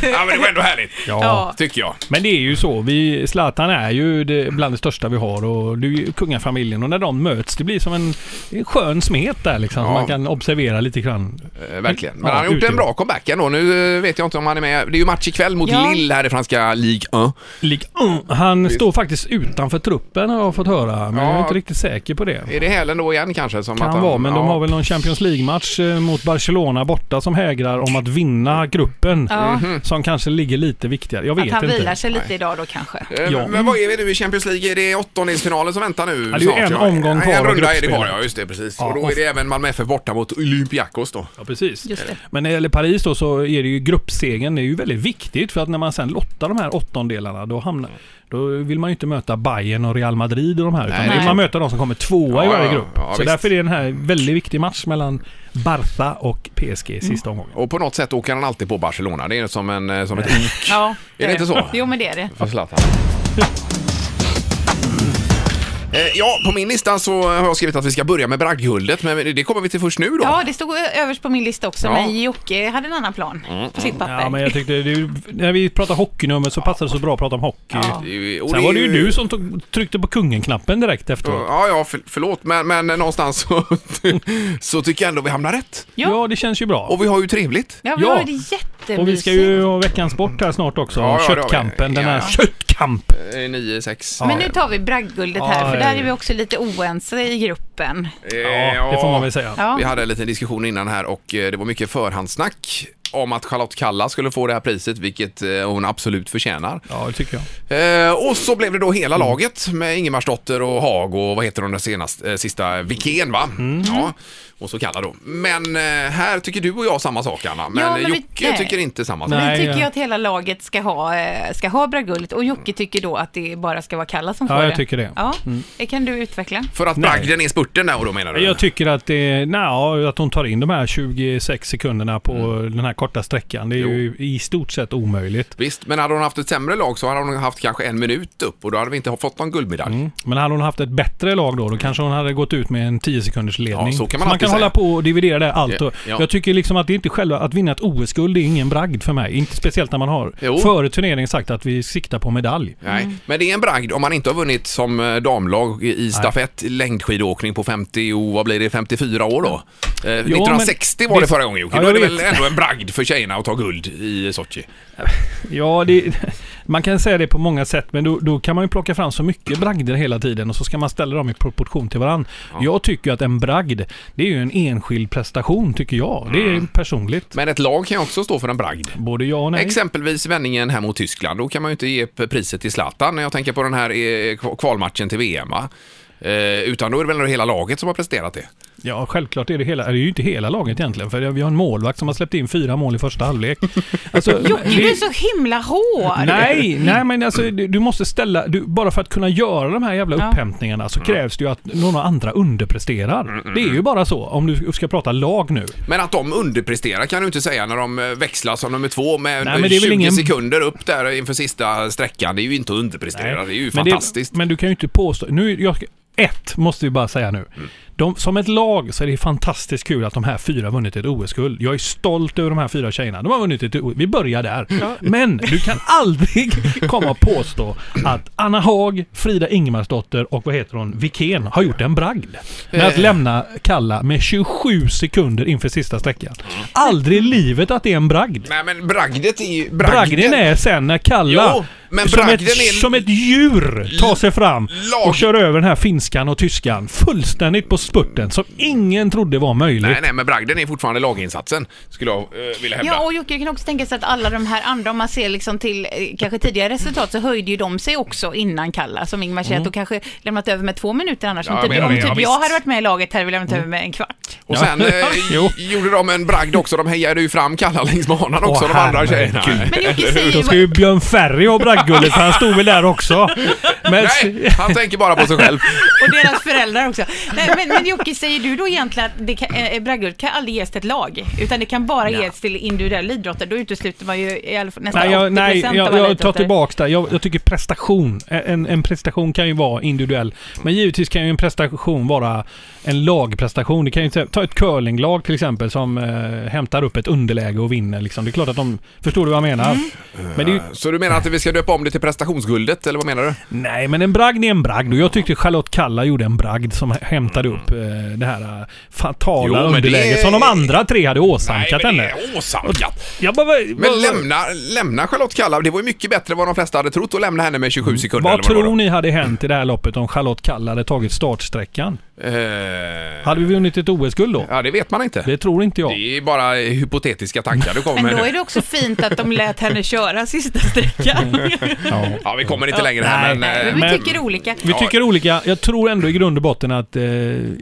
Speaker 5: Ja, men det var ändå härligt,
Speaker 1: Ja.
Speaker 5: tycker jag.
Speaker 6: Men det är ju så. Vi, Zlatan är ju det, bland det största vi har och du är ju kungafamiljen och när de möts det blir som en, en skön smet där liksom.
Speaker 5: Ja.
Speaker 6: Man kan observera lite grann.
Speaker 5: Eh, Verkligen. Men
Speaker 6: Ja,
Speaker 5: han har gjort
Speaker 6: utgör.
Speaker 5: en bra comeback ändå. Nu eh, vet jag inte om han är med. Det är ju match ikväll mot
Speaker 1: Ja.
Speaker 5: Lille här i franska Ligue 1.
Speaker 6: Lik, Mm. han står faktiskt utanför truppen har jag fått höra. Men jag är
Speaker 5: Ja.
Speaker 6: inte riktigt säker på det.
Speaker 5: Är det Hälen då igen kanske? Som att
Speaker 6: Kan
Speaker 5: han-
Speaker 6: vara, men de
Speaker 5: ja.
Speaker 6: har väl någon Champions League-match eh, mot Barcelona borta som hägrar om att vinna gruppen.
Speaker 1: Ja.
Speaker 5: Mhm.
Speaker 6: Som kanske ligger lite viktigare. Jag vet
Speaker 1: Att han
Speaker 6: inte.
Speaker 1: vilar sig lite idag då kanske.
Speaker 5: Eh,
Speaker 6: Ja.
Speaker 5: Men vad är vi nu i Champions League? Är det åttondelsfinalen som väntar nu?
Speaker 6: Ja, det är ju en omgång
Speaker 5: Nej,
Speaker 6: kvar
Speaker 5: En
Speaker 6: av
Speaker 5: runda är det kvar,
Speaker 6: gruppspelet.
Speaker 5: ja just det, precis.
Speaker 6: Ja,
Speaker 5: och då
Speaker 6: och-
Speaker 5: är det även Malmö FF borta mot Olympiakos då.
Speaker 6: Ja, precis.
Speaker 1: Just det.
Speaker 6: Men när det gäller Paris då så är det ju gruppsegern. Det är ju väldigt viktigt för att när man sen lottar de här åttondelarna då hamnar... Då vill man ju inte möta Bayern och Real Madrid och de här. Utan
Speaker 5: Nej,
Speaker 6: då vill
Speaker 1: nej.
Speaker 6: man möta de som kommer tvåa i
Speaker 5: Ja,
Speaker 6: varje
Speaker 5: ja,
Speaker 6: grupp.
Speaker 5: ja,
Speaker 6: så
Speaker 5: visst.
Speaker 6: därför är det en här väldigt viktig match mellan Barca och PSG i sista
Speaker 1: Mm.
Speaker 6: omgången.
Speaker 5: Och på något sätt åker han alltid på Barcelona. Det är som, en, eh, som ett ok
Speaker 1: Ja,
Speaker 5: Är det inte så?
Speaker 1: Jo, men det är det.
Speaker 5: för Zlatan. Eh, Ja, på min lista så har jag skrivit att vi ska börja med bragdguldet, men det kommer vi till först nu då.
Speaker 1: Ja, det stod överst på min lista också,
Speaker 5: Ja. Mm.
Speaker 1: men Jocke hade en annan plan på sitt papper.
Speaker 6: Ja, men jag tyckte... Det, när vi pratar hockeynummer så passar det så bra att prata om hockey.
Speaker 1: Ja.
Speaker 5: Det är ju- och
Speaker 6: Sen
Speaker 5: det är
Speaker 6: var det ju du som tog, tryckte på kungen-knappen direkt efteråt.
Speaker 5: Ja, ja, för, förlåt, men, men någonstans så, så tycker jag ändå vi hamnar rätt.
Speaker 6: Ja,
Speaker 1: Ja.
Speaker 6: det känns ju bra.
Speaker 5: Och vi har ju trevligt.
Speaker 1: Ja, vi
Speaker 6: Ja.
Speaker 1: har det jättemysigt.
Speaker 6: Och vi ska ju ha veckans sport här snart också.
Speaker 5: Ja, ja, det har vi.
Speaker 6: Köttkampen. Den
Speaker 5: Ja,
Speaker 6: här
Speaker 5: ja.
Speaker 6: köttkamp.
Speaker 5: Eh, 9-6.
Speaker 1: Men nu tar vi bragdguldet
Speaker 6: Ja,
Speaker 1: här, för där
Speaker 6: ja.
Speaker 1: är vi också lite oense i gruppen.
Speaker 5: Eh,
Speaker 6: Ja, det får man väl säga.
Speaker 1: Ja.
Speaker 5: Vi hade en liten diskussion innan här och eh, det var mycket förhandsnack om att Charlotte Kalla skulle få det här priset, vilket eh, hon absolut förtjänar.
Speaker 6: Ja, det tycker jag.
Speaker 5: Eh, och så blev det då hela
Speaker 6: Mm.
Speaker 5: laget med Ingemarsdotter och Hag och vad heter hon den senast, eh, sista, Wikén va?
Speaker 6: Mm.
Speaker 5: Ja, och så Kalla då. Men eh, här tycker du och jag samma sak Anna, men,
Speaker 1: Ja, men vi-
Speaker 5: Jocke
Speaker 1: nej.
Speaker 5: tycker inte samma sak.
Speaker 6: Nej.
Speaker 1: Vi tycker ju
Speaker 6: ja.
Speaker 1: att hela laget ska ha, eh, ska ha Bragullet och Jocke tycker då att det bara ska vara Kalla som
Speaker 6: Ja,
Speaker 1: får det.
Speaker 6: jag tycker det. Mm.
Speaker 1: Ja, det kan du utveckla.
Speaker 5: För att bragden är spurten där och då menar du?
Speaker 6: Jag tycker att, det, na, att hon tar in de här 26 sekunderna på
Speaker 5: Mm.
Speaker 6: den här korta sträckan. Det är ju i stort sett omöjligt.
Speaker 5: Visst, men hade hon haft ett sämre lag så hade hon haft kanske en minut upp och då hade vi inte fått någon guldmedalj.
Speaker 6: Men hade hon haft ett bättre lag då, då kanske hon hade gått ut med en 10 sekunders ledning.
Speaker 5: Ja, så kan man
Speaker 6: man
Speaker 5: alltid
Speaker 6: kan
Speaker 5: säga.
Speaker 6: hålla på och dividera det allt.
Speaker 5: Ja,
Speaker 6: Och
Speaker 5: ja.
Speaker 6: Jag tycker liksom att det är inte själva, att vinna ett OS-guld det är ingen bragd för mig. Inte speciellt när man har
Speaker 5: Jo.
Speaker 6: före turneringen sagt att vi siktar på medalj.
Speaker 5: Nej, men det är en bragd om man inte har vunnit som eh, damlag i i stafett längdskidåkning på 50, och vad blir det, 54 år då? Eh, 1960 var
Speaker 6: det-
Speaker 5: det förra gången Jocke,
Speaker 6: Ja,
Speaker 5: då är
Speaker 6: jag
Speaker 5: det
Speaker 6: vet.
Speaker 5: väl ändå en bragd för tjejerna att ta guld i Sochi?
Speaker 6: Ja, det, man kan säga det på många sätt, men då, då kan man ju plocka fram så mycket bragder hela tiden och så ska man ställa dem i proportion till varandra. Jag tycker ju att en bragd, det är ju en enskild prestation tycker jag. Det
Speaker 5: Mm.
Speaker 6: är personligt.
Speaker 5: Men ett lag kan ju också stå för en bragd.
Speaker 6: Både ja och nej.
Speaker 5: Exempelvis vändningen här mot Tyskland, då kan man ju inte ge p- priset till Zlatan när jag tänker på den här eh, kva- kvalmatchen till VM va? Eh, utan då är det väl hela laget som har presterat det.
Speaker 6: Ja, självklart är det hela, det är ju inte hela laget egentligen, för vi har en målvakt som har släppt in fyra mål i första halvlek. Alltså,
Speaker 1: Jocke,
Speaker 6: det-
Speaker 1: du är så himla hård!
Speaker 6: Nej, nej men alltså, du, du måste ställa... Du, bara för att kunna göra de här jävla upphämtningarna så krävs det ju att några andra underpresterar. Det är ju bara så, om du ska prata lag nu.
Speaker 5: Men att de underpresterar kan du inte säga när de eh, växlar som nummer två med
Speaker 6: Nej, men det är väl
Speaker 5: 20
Speaker 6: ingen-
Speaker 5: sekunder upp där inför sista sträckan. Det är ju inte att underprestera, det är ju
Speaker 6: men
Speaker 5: fantastiskt.
Speaker 6: men du kan ju inte påstå... Nu, jag, ett måste vi bara säga nu.
Speaker 5: Mm.
Speaker 6: De, som ett lag så är det fantastiskt kul att de här fyra har vunnit ett OS-guld. Jag är stolt över de här fyra tjejerna. De har vunnit ett OS. Vi börjar där. Men du kan aldrig komma och påstå att Anna Haag, Frida Ingemarsdotter och vad heter hon, Wikén har gjort en bragd. Med
Speaker 5: Eh.
Speaker 6: att lämna Kalla med 27 sekunder inför sista sträckan.
Speaker 5: Mm.
Speaker 6: Aldrig i livet att det är en bragd.
Speaker 5: Nej men bragdet är ju...
Speaker 6: Bragden är sen när Kalla,
Speaker 5: Jo, men
Speaker 6: som, ett,
Speaker 5: bragden är-
Speaker 6: som ett djur, tar sig fram
Speaker 5: Lag-
Speaker 6: och kör över den här finskan och tyskan fullständigt på spurten som ingen trodde var möjligt.
Speaker 5: Nej, nej, men bragden är fortfarande laginsatsen, skulle jag eh, vilja hävda.
Speaker 1: Ja, och Jocke, det kan också tänka sig att alla de här andra, om man ser liksom till eh, kanske tidigare resultat, så höjde ju de sig också innan Kalla, som Ingmar säger, att de
Speaker 6: Mm.
Speaker 1: kanske lämnat över med två minuter annars.
Speaker 5: Ja, jag
Speaker 1: som typ,
Speaker 5: menar
Speaker 1: om
Speaker 5: det,
Speaker 1: typ
Speaker 5: ja,
Speaker 1: jag
Speaker 5: visst.
Speaker 1: hade varit med i laget hade vi lämnat över med en kvart.
Speaker 5: Och sen eh,
Speaker 6: Jo.
Speaker 5: gjorde de en bragd också. De hejade ju fram Kalla längs banan också,
Speaker 6: Åh,
Speaker 5: de andra
Speaker 6: herregud.
Speaker 5: tjejerna.
Speaker 1: Men Jocke
Speaker 6: Mm. Då ska
Speaker 1: säger
Speaker 6: ju Björn Ferry ha bragdguldet för han stod väl där också. Men,
Speaker 5: Nej, han tänker bara på sig själv.
Speaker 1: och deras föräldrar också. Nej, men, men Jocke, säger du då egentligen att det kan, eh, Bragdguld kan aldrig ges till ett lag, utan det kan bara ges till individuella idrotter? Då utesluter man ju i alla fall nästan
Speaker 6: Nej,
Speaker 1: 80
Speaker 6: jag, nej,
Speaker 1: av
Speaker 6: jag,
Speaker 1: alla
Speaker 6: jag tar
Speaker 1: idrotter.
Speaker 6: tillbaks det. Jag, jag tycker prestation. En, en prestation kan ju vara individuell. Men givetvis kan ju en prestation vara en lagprestation. Det kan ju, inte- ta ett curlinglag till exempel som eh, hämtar upp ett underläge och vinner. Liksom. Det är klart att de... Förstår du vad jag menar?
Speaker 1: Mm.
Speaker 6: Men det är ju,
Speaker 5: Så du menar att vi ska döpa om det till prestationsguldet, eller vad menar du?
Speaker 6: nej, men en bragd är en bragd. Och jag tyckte Charlotte Kalla gjorde en bragd som hämtade
Speaker 1: Mm.
Speaker 6: upp eh, det här eh,
Speaker 5: Jo,
Speaker 6: fatala
Speaker 5: men det-
Speaker 6: underläget som de andra tre hade åsamkat
Speaker 5: men det
Speaker 6: henne.
Speaker 5: är åsamkat.
Speaker 6: Jag bara, vad-
Speaker 5: Men
Speaker 6: vad-
Speaker 5: lämna, lämna Charlotte Kalla, det var ju mycket bättre än vad de flesta hade trott att lämna henne med 27 sekunder.
Speaker 6: Mm. Vad
Speaker 5: eller det
Speaker 6: tror
Speaker 5: var
Speaker 6: ni hade hänt i det här loppet om Charlotte Kalla hade tagit startsträckan?
Speaker 5: då. Eh,
Speaker 6: Hade vi vunnit ett OS-guld då?
Speaker 5: Ja, det vet man inte.
Speaker 6: Det tror inte jag.
Speaker 5: Det är bara hypotetiska tankar du kommer
Speaker 1: Men
Speaker 5: med
Speaker 1: då
Speaker 5: nu.
Speaker 1: är det också fint att de lät henne köra sista sträckan.
Speaker 5: Ja, vi kommer inte längre här,
Speaker 6: Nej,
Speaker 5: men...
Speaker 1: Nej,
Speaker 5: eh,
Speaker 1: men vi
Speaker 6: men-
Speaker 1: tycker olika.
Speaker 6: Vi tycker olika. Jag tror ändå i grund och botten att eh,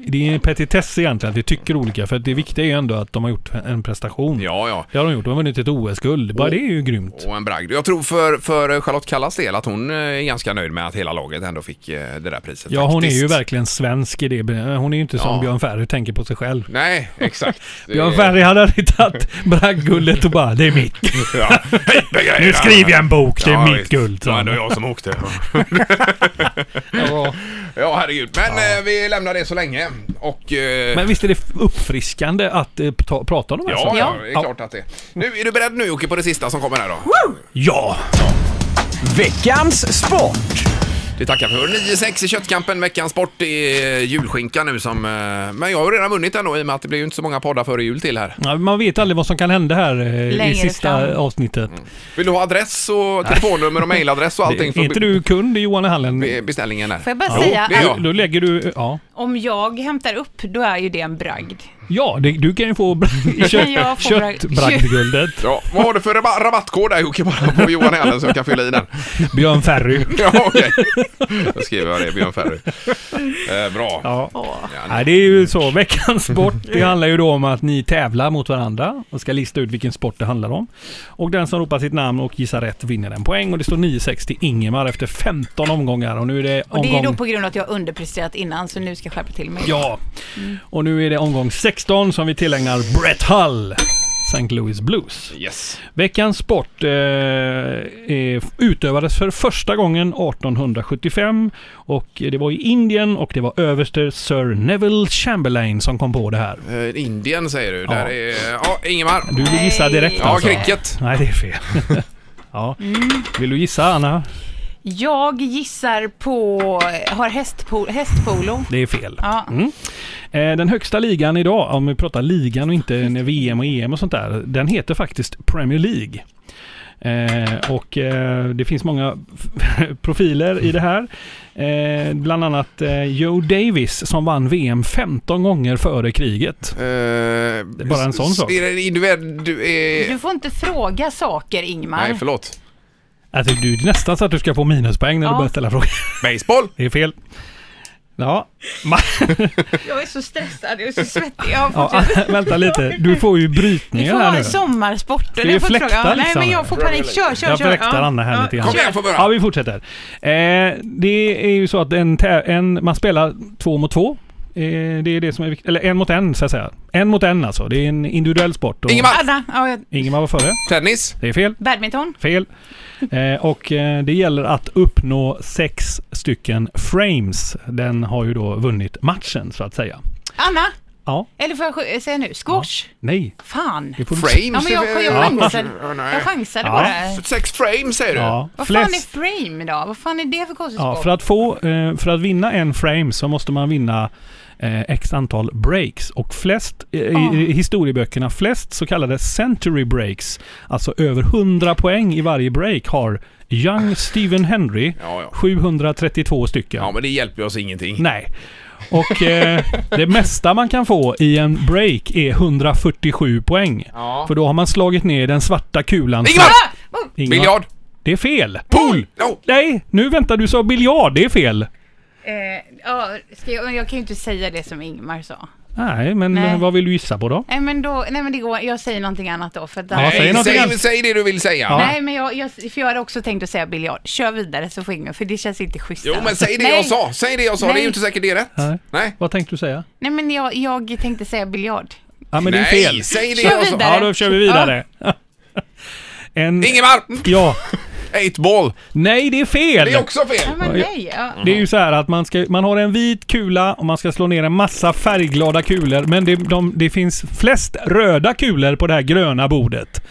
Speaker 6: det är en petitess egentligen att vi tycker olika. För att det viktiga är ju ändå att de har gjort en prestation.
Speaker 5: Ja, ja.
Speaker 6: Det har de gjort. De har vunnit ett OS-guld. Bara det är ju grymt.
Speaker 5: Och en bragd. Jag tror för, för Charlotte Kallas del att hon eh, är ganska nöjd med att hela laget ändå fick eh, det där priset.
Speaker 6: Ja, hon är ju
Speaker 5: faktiskt.
Speaker 6: verkligen svensk i det. Hon är ju inte som
Speaker 5: Ja.
Speaker 6: Björn Ferry tänker på sig själv.
Speaker 5: Nej, exakt. Det-
Speaker 6: Björn Ferry hade aldrig tagit bragdguldet och bara det är mitt.
Speaker 5: Ja. Hej, begrejer.
Speaker 6: Nu skriver jag en bok, det är mitt
Speaker 5: visst.
Speaker 6: guld,
Speaker 5: Det
Speaker 6: sa
Speaker 5: var
Speaker 6: han.
Speaker 5: ändå jag som åkte. ja, herregud. Men eh, vi lämnar det så länge. Och... eh,
Speaker 6: Men visst är det uppfriskande att eh, ta, prata om de här
Speaker 5: Ja,
Speaker 6: sakerna?
Speaker 5: ja, det är klart att det är. Nu, är du beredd nu Jocke på det sista som kommer här då?
Speaker 6: Ja!
Speaker 4: Veckans sport!
Speaker 5: Det tackar vi för. 9-6 i köttkampen, veckans sport. Det är julskinka nu som... eh, Men jag har ju redan vunnit ändå i och med att det blir ju inte så många poddar före jul till här.
Speaker 6: Ja, Man vet aldrig vad som kan hända här eh, i
Speaker 1: Längre
Speaker 6: sista
Speaker 1: fram.
Speaker 6: avsnittet.
Speaker 5: Vill du ha adress och telefonnummer och mejladress och allting?
Speaker 6: Är inte du kund i Johan i hallen?
Speaker 5: be- beställningen där?
Speaker 1: Får jag bara
Speaker 5: Jo,
Speaker 1: säga
Speaker 5: det är
Speaker 1: att
Speaker 5: jag.
Speaker 6: Då lägger du... Ja.
Speaker 1: Om jag hämtar upp, då är ju det en bragd.
Speaker 6: Ja, det, du kan ju få
Speaker 1: kan jag
Speaker 6: kött,
Speaker 1: få brag-
Speaker 6: köttbragdguldet.
Speaker 5: Ja, vad har du för rabat- rabattkod där Jocke, bara på Johan Helen så jag kan fylla i den?
Speaker 6: Björn Ferry.
Speaker 5: Ja, okej. Då skriver jag det, Björn Ferry. Eh, bra.
Speaker 6: Ja.
Speaker 1: Åh.
Speaker 6: Nej, det är ju så. Veckans sport, det handlar ju då om att ni tävlar mot varandra och ska lista ut vilken sport det handlar om. Och den som ropar sitt namn och gissar rätt vinner en poäng. Och det står 9-6 till Ingemar efter 15 omgångar. Och nu är det
Speaker 1: Och det är
Speaker 6: omgång...
Speaker 1: då på grund av att jag har underpresterat innan, så nu ska jag skärpa till mig.
Speaker 6: Ja.
Speaker 1: Mm.
Speaker 6: Och nu är det omgång 16 som vi tillägnar Brett Hull. St. Louis Blues.
Speaker 5: Yes.
Speaker 6: Veckans sport eh, eh, utövades för första gången 1875 och det var i Indien och det var överste Sir Neville Chamberlain som kom på det här.
Speaker 5: Eh, Indien säger du. Där
Speaker 6: Ja.
Speaker 5: är... Ja, Ingemar.
Speaker 6: Du vill gissa direkt
Speaker 5: Ja,
Speaker 6: alltså?
Speaker 5: cricket.
Speaker 6: Nej, det är fel. ja.
Speaker 1: Mm.
Speaker 6: Vill du gissa Anna?
Speaker 1: Jag gissar på... Har hästpo- hästpolo.
Speaker 6: Det är fel.
Speaker 1: Ja.
Speaker 6: Mm. Eh, Den högsta ligan idag, om vi pratar ligan och inte en VM och EM och sånt där, den heter faktiskt Premier League. Eh, och eh, det finns många profiler i det här. Eh, bland annat eh, Joe Davis som vann VM 15 gånger före kriget.
Speaker 5: Eh,
Speaker 6: bara en sån
Speaker 5: s-
Speaker 6: sak.
Speaker 5: Är det individuell... Du är...
Speaker 6: Eh.
Speaker 1: Du får inte fråga saker, Ingmar.
Speaker 5: Nej, förlåt.
Speaker 6: Alltså, du, det är nästan så att du ska få minuspoäng när du
Speaker 1: Ja.
Speaker 6: börjar ställa frågan.
Speaker 5: Baseball.
Speaker 6: Det är fel. Ja,
Speaker 1: Jag är så stressad, jag är så svettig. Jag har fått typ-
Speaker 6: ja vänta lite. Du får ju
Speaker 1: Vi
Speaker 6: brytningar
Speaker 1: får
Speaker 6: här
Speaker 1: ha
Speaker 6: nu.
Speaker 1: en sommarsport.
Speaker 6: är ju fläktar
Speaker 1: Nej,
Speaker 6: liksom.
Speaker 1: men jag får panik. Kör, kör,
Speaker 6: Jag
Speaker 1: kör.
Speaker 6: fläktar Anna här lite grann.
Speaker 5: Kom igen, får vi höra.
Speaker 6: Ja, vi fortsätter. Eh, det är ju så att en, tä- en, man spelar två mot två. Eh, det är det som är viktigt. Eller en mot en, så att säga. En mot en alltså. Det är en individuell sport. Och
Speaker 5: Ingemar.
Speaker 1: Anna, ja, jag-
Speaker 6: Ingemar var före.
Speaker 5: Tennis.
Speaker 6: Det är fel.
Speaker 1: badminton.
Speaker 6: Fel. Eh, och eh, det gäller att uppnå sex stycken frames. Den har ju då vunnit matchen, så att säga.
Speaker 1: Anna,
Speaker 6: Ja.
Speaker 1: eller får jag sk- säga nu? Squash?
Speaker 6: Nej.
Speaker 1: Fan.
Speaker 6: Det får du-
Speaker 5: Frames.
Speaker 1: Ja, men jag, jag,
Speaker 5: Ja.
Speaker 1: chansade,
Speaker 5: Ja, nej.
Speaker 1: jag chansade
Speaker 6: Ja.
Speaker 1: bara.
Speaker 5: Sex frames säger du?
Speaker 6: Ja.
Speaker 1: Vad fan är
Speaker 6: Flest-
Speaker 1: frame då? Vad fan är det för konstig
Speaker 6: Ja,
Speaker 1: sport?
Speaker 6: för att, få, eh, för att vinna en frame så måste man vinna eh, x antal breaks. Och flest eh,
Speaker 1: Ah.
Speaker 6: i, i historieböckerna, flest så kallade century breaks, alltså över 100 poäng i varje break, har Young Stephen Henry
Speaker 5: Ah. Ja, ja.
Speaker 6: 732 stycken.
Speaker 5: Ja, men det hjälper ju oss ingenting.
Speaker 6: Nej. Och eh, det mesta man kan få i en break är 147 poäng.
Speaker 5: Ja.
Speaker 6: För då har man slagit ner den svarta kulan.
Speaker 5: Ingemar!
Speaker 1: Ah! Oh!
Speaker 6: Ingvar,
Speaker 5: Biljard.
Speaker 6: Det är fel.
Speaker 5: Pool! No.
Speaker 6: Nej, nu väntar du sa biljard. Det är fel.
Speaker 1: Eh, ja, ska jag, jag kan ju inte säga det som Ingmar sa.
Speaker 6: Nej, men
Speaker 1: Nej.
Speaker 6: eh, vad vill du gissa på då?
Speaker 1: Nej men, då, nej men det går, jag säger någonting annat då. För att
Speaker 6: Ja, säg
Speaker 5: Nej,
Speaker 6: någonting
Speaker 5: säg,
Speaker 6: annat.
Speaker 5: säg det du vill säga.
Speaker 1: Nej men jag, jag, för jag hade också tänkt att säga biljard. Kör vidare så får Ingmar, för det känns inte schysst.
Speaker 5: Jo, men
Speaker 1: alltså.
Speaker 5: säg det
Speaker 1: nej,
Speaker 5: jag sa. Säg det jag sa. Det är ju
Speaker 1: Nej.
Speaker 5: inte säkert det är rätt.
Speaker 6: Nej.
Speaker 5: Nej.
Speaker 6: Vad tänkte du säga?
Speaker 1: Nej men jag, jag tänkte säga biljard.
Speaker 6: Ja, men det
Speaker 5: Nej,
Speaker 6: är fel.
Speaker 5: säg det
Speaker 1: Kör
Speaker 5: jag sa.
Speaker 1: vidare.
Speaker 6: Ja, då kör vi vidare. en...
Speaker 5: Ingemar!
Speaker 6: Ja.
Speaker 5: Eight ball.
Speaker 6: Nej, det är fel!
Speaker 5: Det är också fel.
Speaker 1: Ja, men
Speaker 6: Ja,
Speaker 1: nej. Ja.
Speaker 6: Det är ju så här att man, ska, man har en vit kula och man ska slå ner en massa färgglada kulor. Men det, de, det finns flest röda kulor på det här gröna bordet.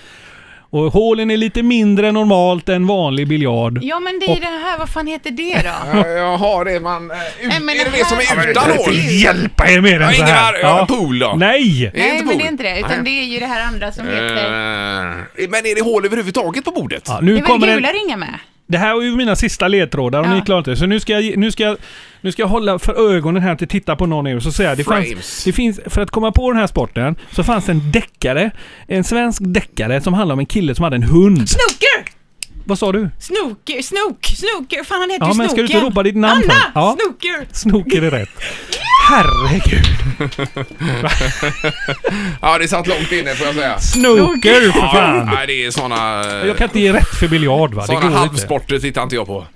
Speaker 6: Och hålen är lite mindre normalt än vanlig biljard.
Speaker 1: Ja men det är det här, vad fan heter det då?
Speaker 5: Ja, Jaha, det är man... eh, Ut,
Speaker 1: Nej, men
Speaker 5: är det
Speaker 1: det
Speaker 5: det som
Speaker 1: här-
Speaker 5: är utan hål?
Speaker 6: Hjälpa er med den
Speaker 5: Ja,
Speaker 6: så här.
Speaker 5: Ingemar, ja, pool då.
Speaker 6: Nej!
Speaker 5: Är det
Speaker 1: Nej
Speaker 5: inte
Speaker 1: men
Speaker 5: pool?
Speaker 1: det är inte det, utan det är ju det här andra som heter...
Speaker 5: Eh, Men är det hål överhuvudtaget på bordet?
Speaker 6: Ja, nu
Speaker 1: Det var
Speaker 6: kommer
Speaker 1: väl
Speaker 6: en-
Speaker 1: gula ringar med?
Speaker 6: Det här var ju mina sista ledtrådar och
Speaker 1: Ja.
Speaker 6: ni klarar inte det. Så nu ska, jag, nu, ska jag, nu ska jag hålla för ögonen här till titta på någon er och så säga det
Speaker 5: Frames.
Speaker 6: fanns, det finns, För att komma på den här sporten så fanns det en deckare, en svensk deckare som handlade om en kille som hade en hund.
Speaker 1: Snooker!
Speaker 6: Vad sa du?
Speaker 1: Snooker, snok, snooker, fan han heter
Speaker 6: Ja,
Speaker 1: ju
Speaker 6: men ska du inte
Speaker 1: Snoken.
Speaker 6: ropa ditt namn
Speaker 1: Anna!
Speaker 6: först? Ja.
Speaker 1: Snooker!
Speaker 6: Snooker är rätt. Herregud.
Speaker 5: Ja, det satt långt inne får jag säga.
Speaker 6: Snooker för fan.
Speaker 5: Nej, det är såna... eh,
Speaker 6: Jag kan inte ge rätt för biljard va? Det
Speaker 5: Såna
Speaker 6: går inte.
Speaker 5: halvsporter tittar inte jag på.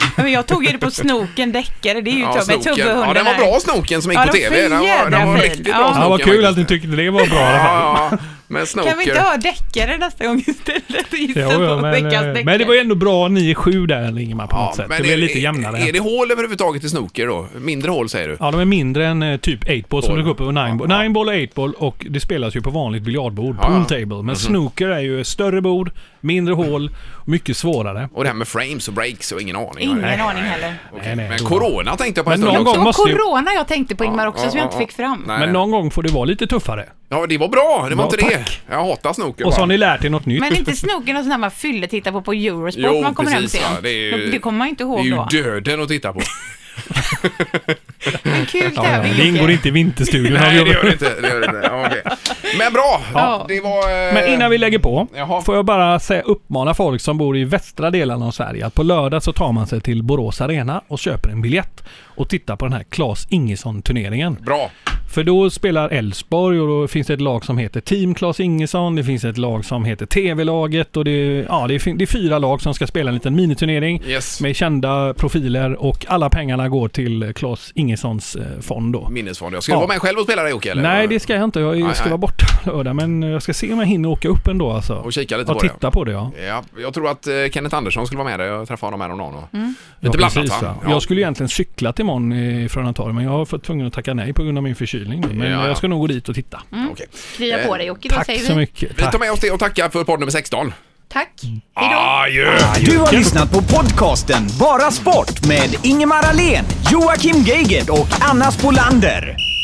Speaker 1: Ja, Men jag tog ju det på snoken deckare, det är ju
Speaker 5: Ja,
Speaker 1: ja, med
Speaker 5: snoken.
Speaker 1: tubbehunden
Speaker 5: Ja, den var
Speaker 1: här.
Speaker 5: bra snoken som gick
Speaker 1: Ja,
Speaker 5: på
Speaker 1: den var
Speaker 5: TV. Den var, den
Speaker 1: jädra
Speaker 5: var
Speaker 1: fin.
Speaker 5: riktigt bra
Speaker 1: Ja.
Speaker 5: snoken.
Speaker 6: Ja, vad kul
Speaker 5: faktiskt.
Speaker 6: att du tyckte det var bra i alla fall.
Speaker 5: Ja, ja, men snoker.
Speaker 1: Kan vi inte ha deckare nästa gång istället och gissa
Speaker 6: Jo, jo,
Speaker 1: på
Speaker 6: men,
Speaker 1: veckans
Speaker 6: eh,
Speaker 1: deckare?
Speaker 6: men det var ju ändå bra 9-7 där Ingemar på något sätt. Det
Speaker 5: men
Speaker 6: blev
Speaker 5: är-
Speaker 6: lite jämnare.
Speaker 5: Är det hål överhuvudtaget i snooker då? Mindre hål säger du?
Speaker 6: Ja, de är mindre än eh, typ 8-ball som
Speaker 5: Ball.
Speaker 6: du går upp över 9-ball. 9-ball och 8-ball och det spelas ju på vanligt biljardbord,
Speaker 5: Ja, Mhm. ja.
Speaker 6: pool table. Men snooker är ju större bord, mindre hål, mycket svårare.
Speaker 5: Och det här med frames och breaks och ingen aning.
Speaker 1: Ingen
Speaker 5: Nej.
Speaker 1: aning heller.
Speaker 5: Okej.
Speaker 6: Nej, nej.
Speaker 5: Men corona tänkte jag på en
Speaker 6: Men
Speaker 5: stund
Speaker 6: någon
Speaker 5: också.
Speaker 1: Det
Speaker 6: gång-
Speaker 1: var
Speaker 6: måste ju-
Speaker 1: corona jag tänkte på Ingmar också
Speaker 5: Ja,
Speaker 1: som jag inte
Speaker 5: ja,
Speaker 1: fick fram.
Speaker 5: Nej.
Speaker 6: Men någon gång får det vara lite tuffare.
Speaker 5: Ja, det var bra. Det var
Speaker 6: Ja,
Speaker 5: inte det.
Speaker 6: tack.
Speaker 5: Jag hatar snooker
Speaker 6: Och så
Speaker 5: bara.
Speaker 6: har ni lärt er något nytt.
Speaker 1: Men inte snoken och sånt där man fyller tittar på på Eurosport
Speaker 5: Jo,
Speaker 1: man kommer
Speaker 5: precis,
Speaker 1: hem
Speaker 5: va.
Speaker 1: sen.
Speaker 5: Det är ju-
Speaker 1: det kommer man ju inte
Speaker 5: Det är
Speaker 1: ihåg
Speaker 5: ju
Speaker 1: då.
Speaker 5: döden att titta på.
Speaker 1: En kul tävling
Speaker 6: Det ingår inte i Vinterstudion.
Speaker 5: Nej, det gör det inte. Det gör det inte. Ja, okej. Men bra! Det var... eh,
Speaker 6: Men innan vi lägger på,
Speaker 5: Jaha.
Speaker 6: får jag bara säga, uppmana folk som bor i västra delarna av Sverige att på lördag så tar man sig till Borås Arena och köper en biljett och tittar på den här Claes Ingesson-turneringen.
Speaker 5: Bra!
Speaker 6: För då spelar Elfsborg och då finns det ett lag som heter Team Claes Ingesson, det finns ett lag som heter TV-laget och det, ja, det, är, fin- det är fyra lag som ska spela en liten miniturnering
Speaker 5: Yes.
Speaker 6: med kända profiler och alla pengarna går till Claes Ingessons eh, fond då.
Speaker 5: Minnesfond. Jag skulle
Speaker 6: Ja.
Speaker 5: vara med själv och spela det Jocke, eller?
Speaker 6: Nej, det ska jag inte. Jag ska
Speaker 5: nej.
Speaker 6: vara borta på lördag, men jag ska se om jag hinner åka upp ändå alltså.
Speaker 5: Och kika lite
Speaker 6: och
Speaker 5: på det.
Speaker 6: titta på det ja.
Speaker 5: Ja, jag tror att eh, Kenneth Andersson skulle vara med där. Jag träffade honom häromdagen. Och...
Speaker 1: Mm.
Speaker 6: Ja,
Speaker 5: Lite blandat
Speaker 6: precis,
Speaker 5: va?
Speaker 6: ja. Jag skulle egentligen cykla till imorgon eh, från Antalya men jag har fått tvungen att tacka nej på grund av min förkylning. Men
Speaker 5: Ja, ja.
Speaker 6: jag ska nog gå dit och titta.
Speaker 5: Okej.
Speaker 7: Krya på dig Jocke, då
Speaker 6: Tack så
Speaker 7: säger vi
Speaker 6: mycket.
Speaker 5: Vi tar
Speaker 6: Tack.
Speaker 5: med oss det och tackar för podd nummer 16.
Speaker 7: tack. Hejdå.
Speaker 4: Du har lyssnat på podcasten Bara Sport med Ingemar Ahlén, Joakim Geigert och Anna Spolander.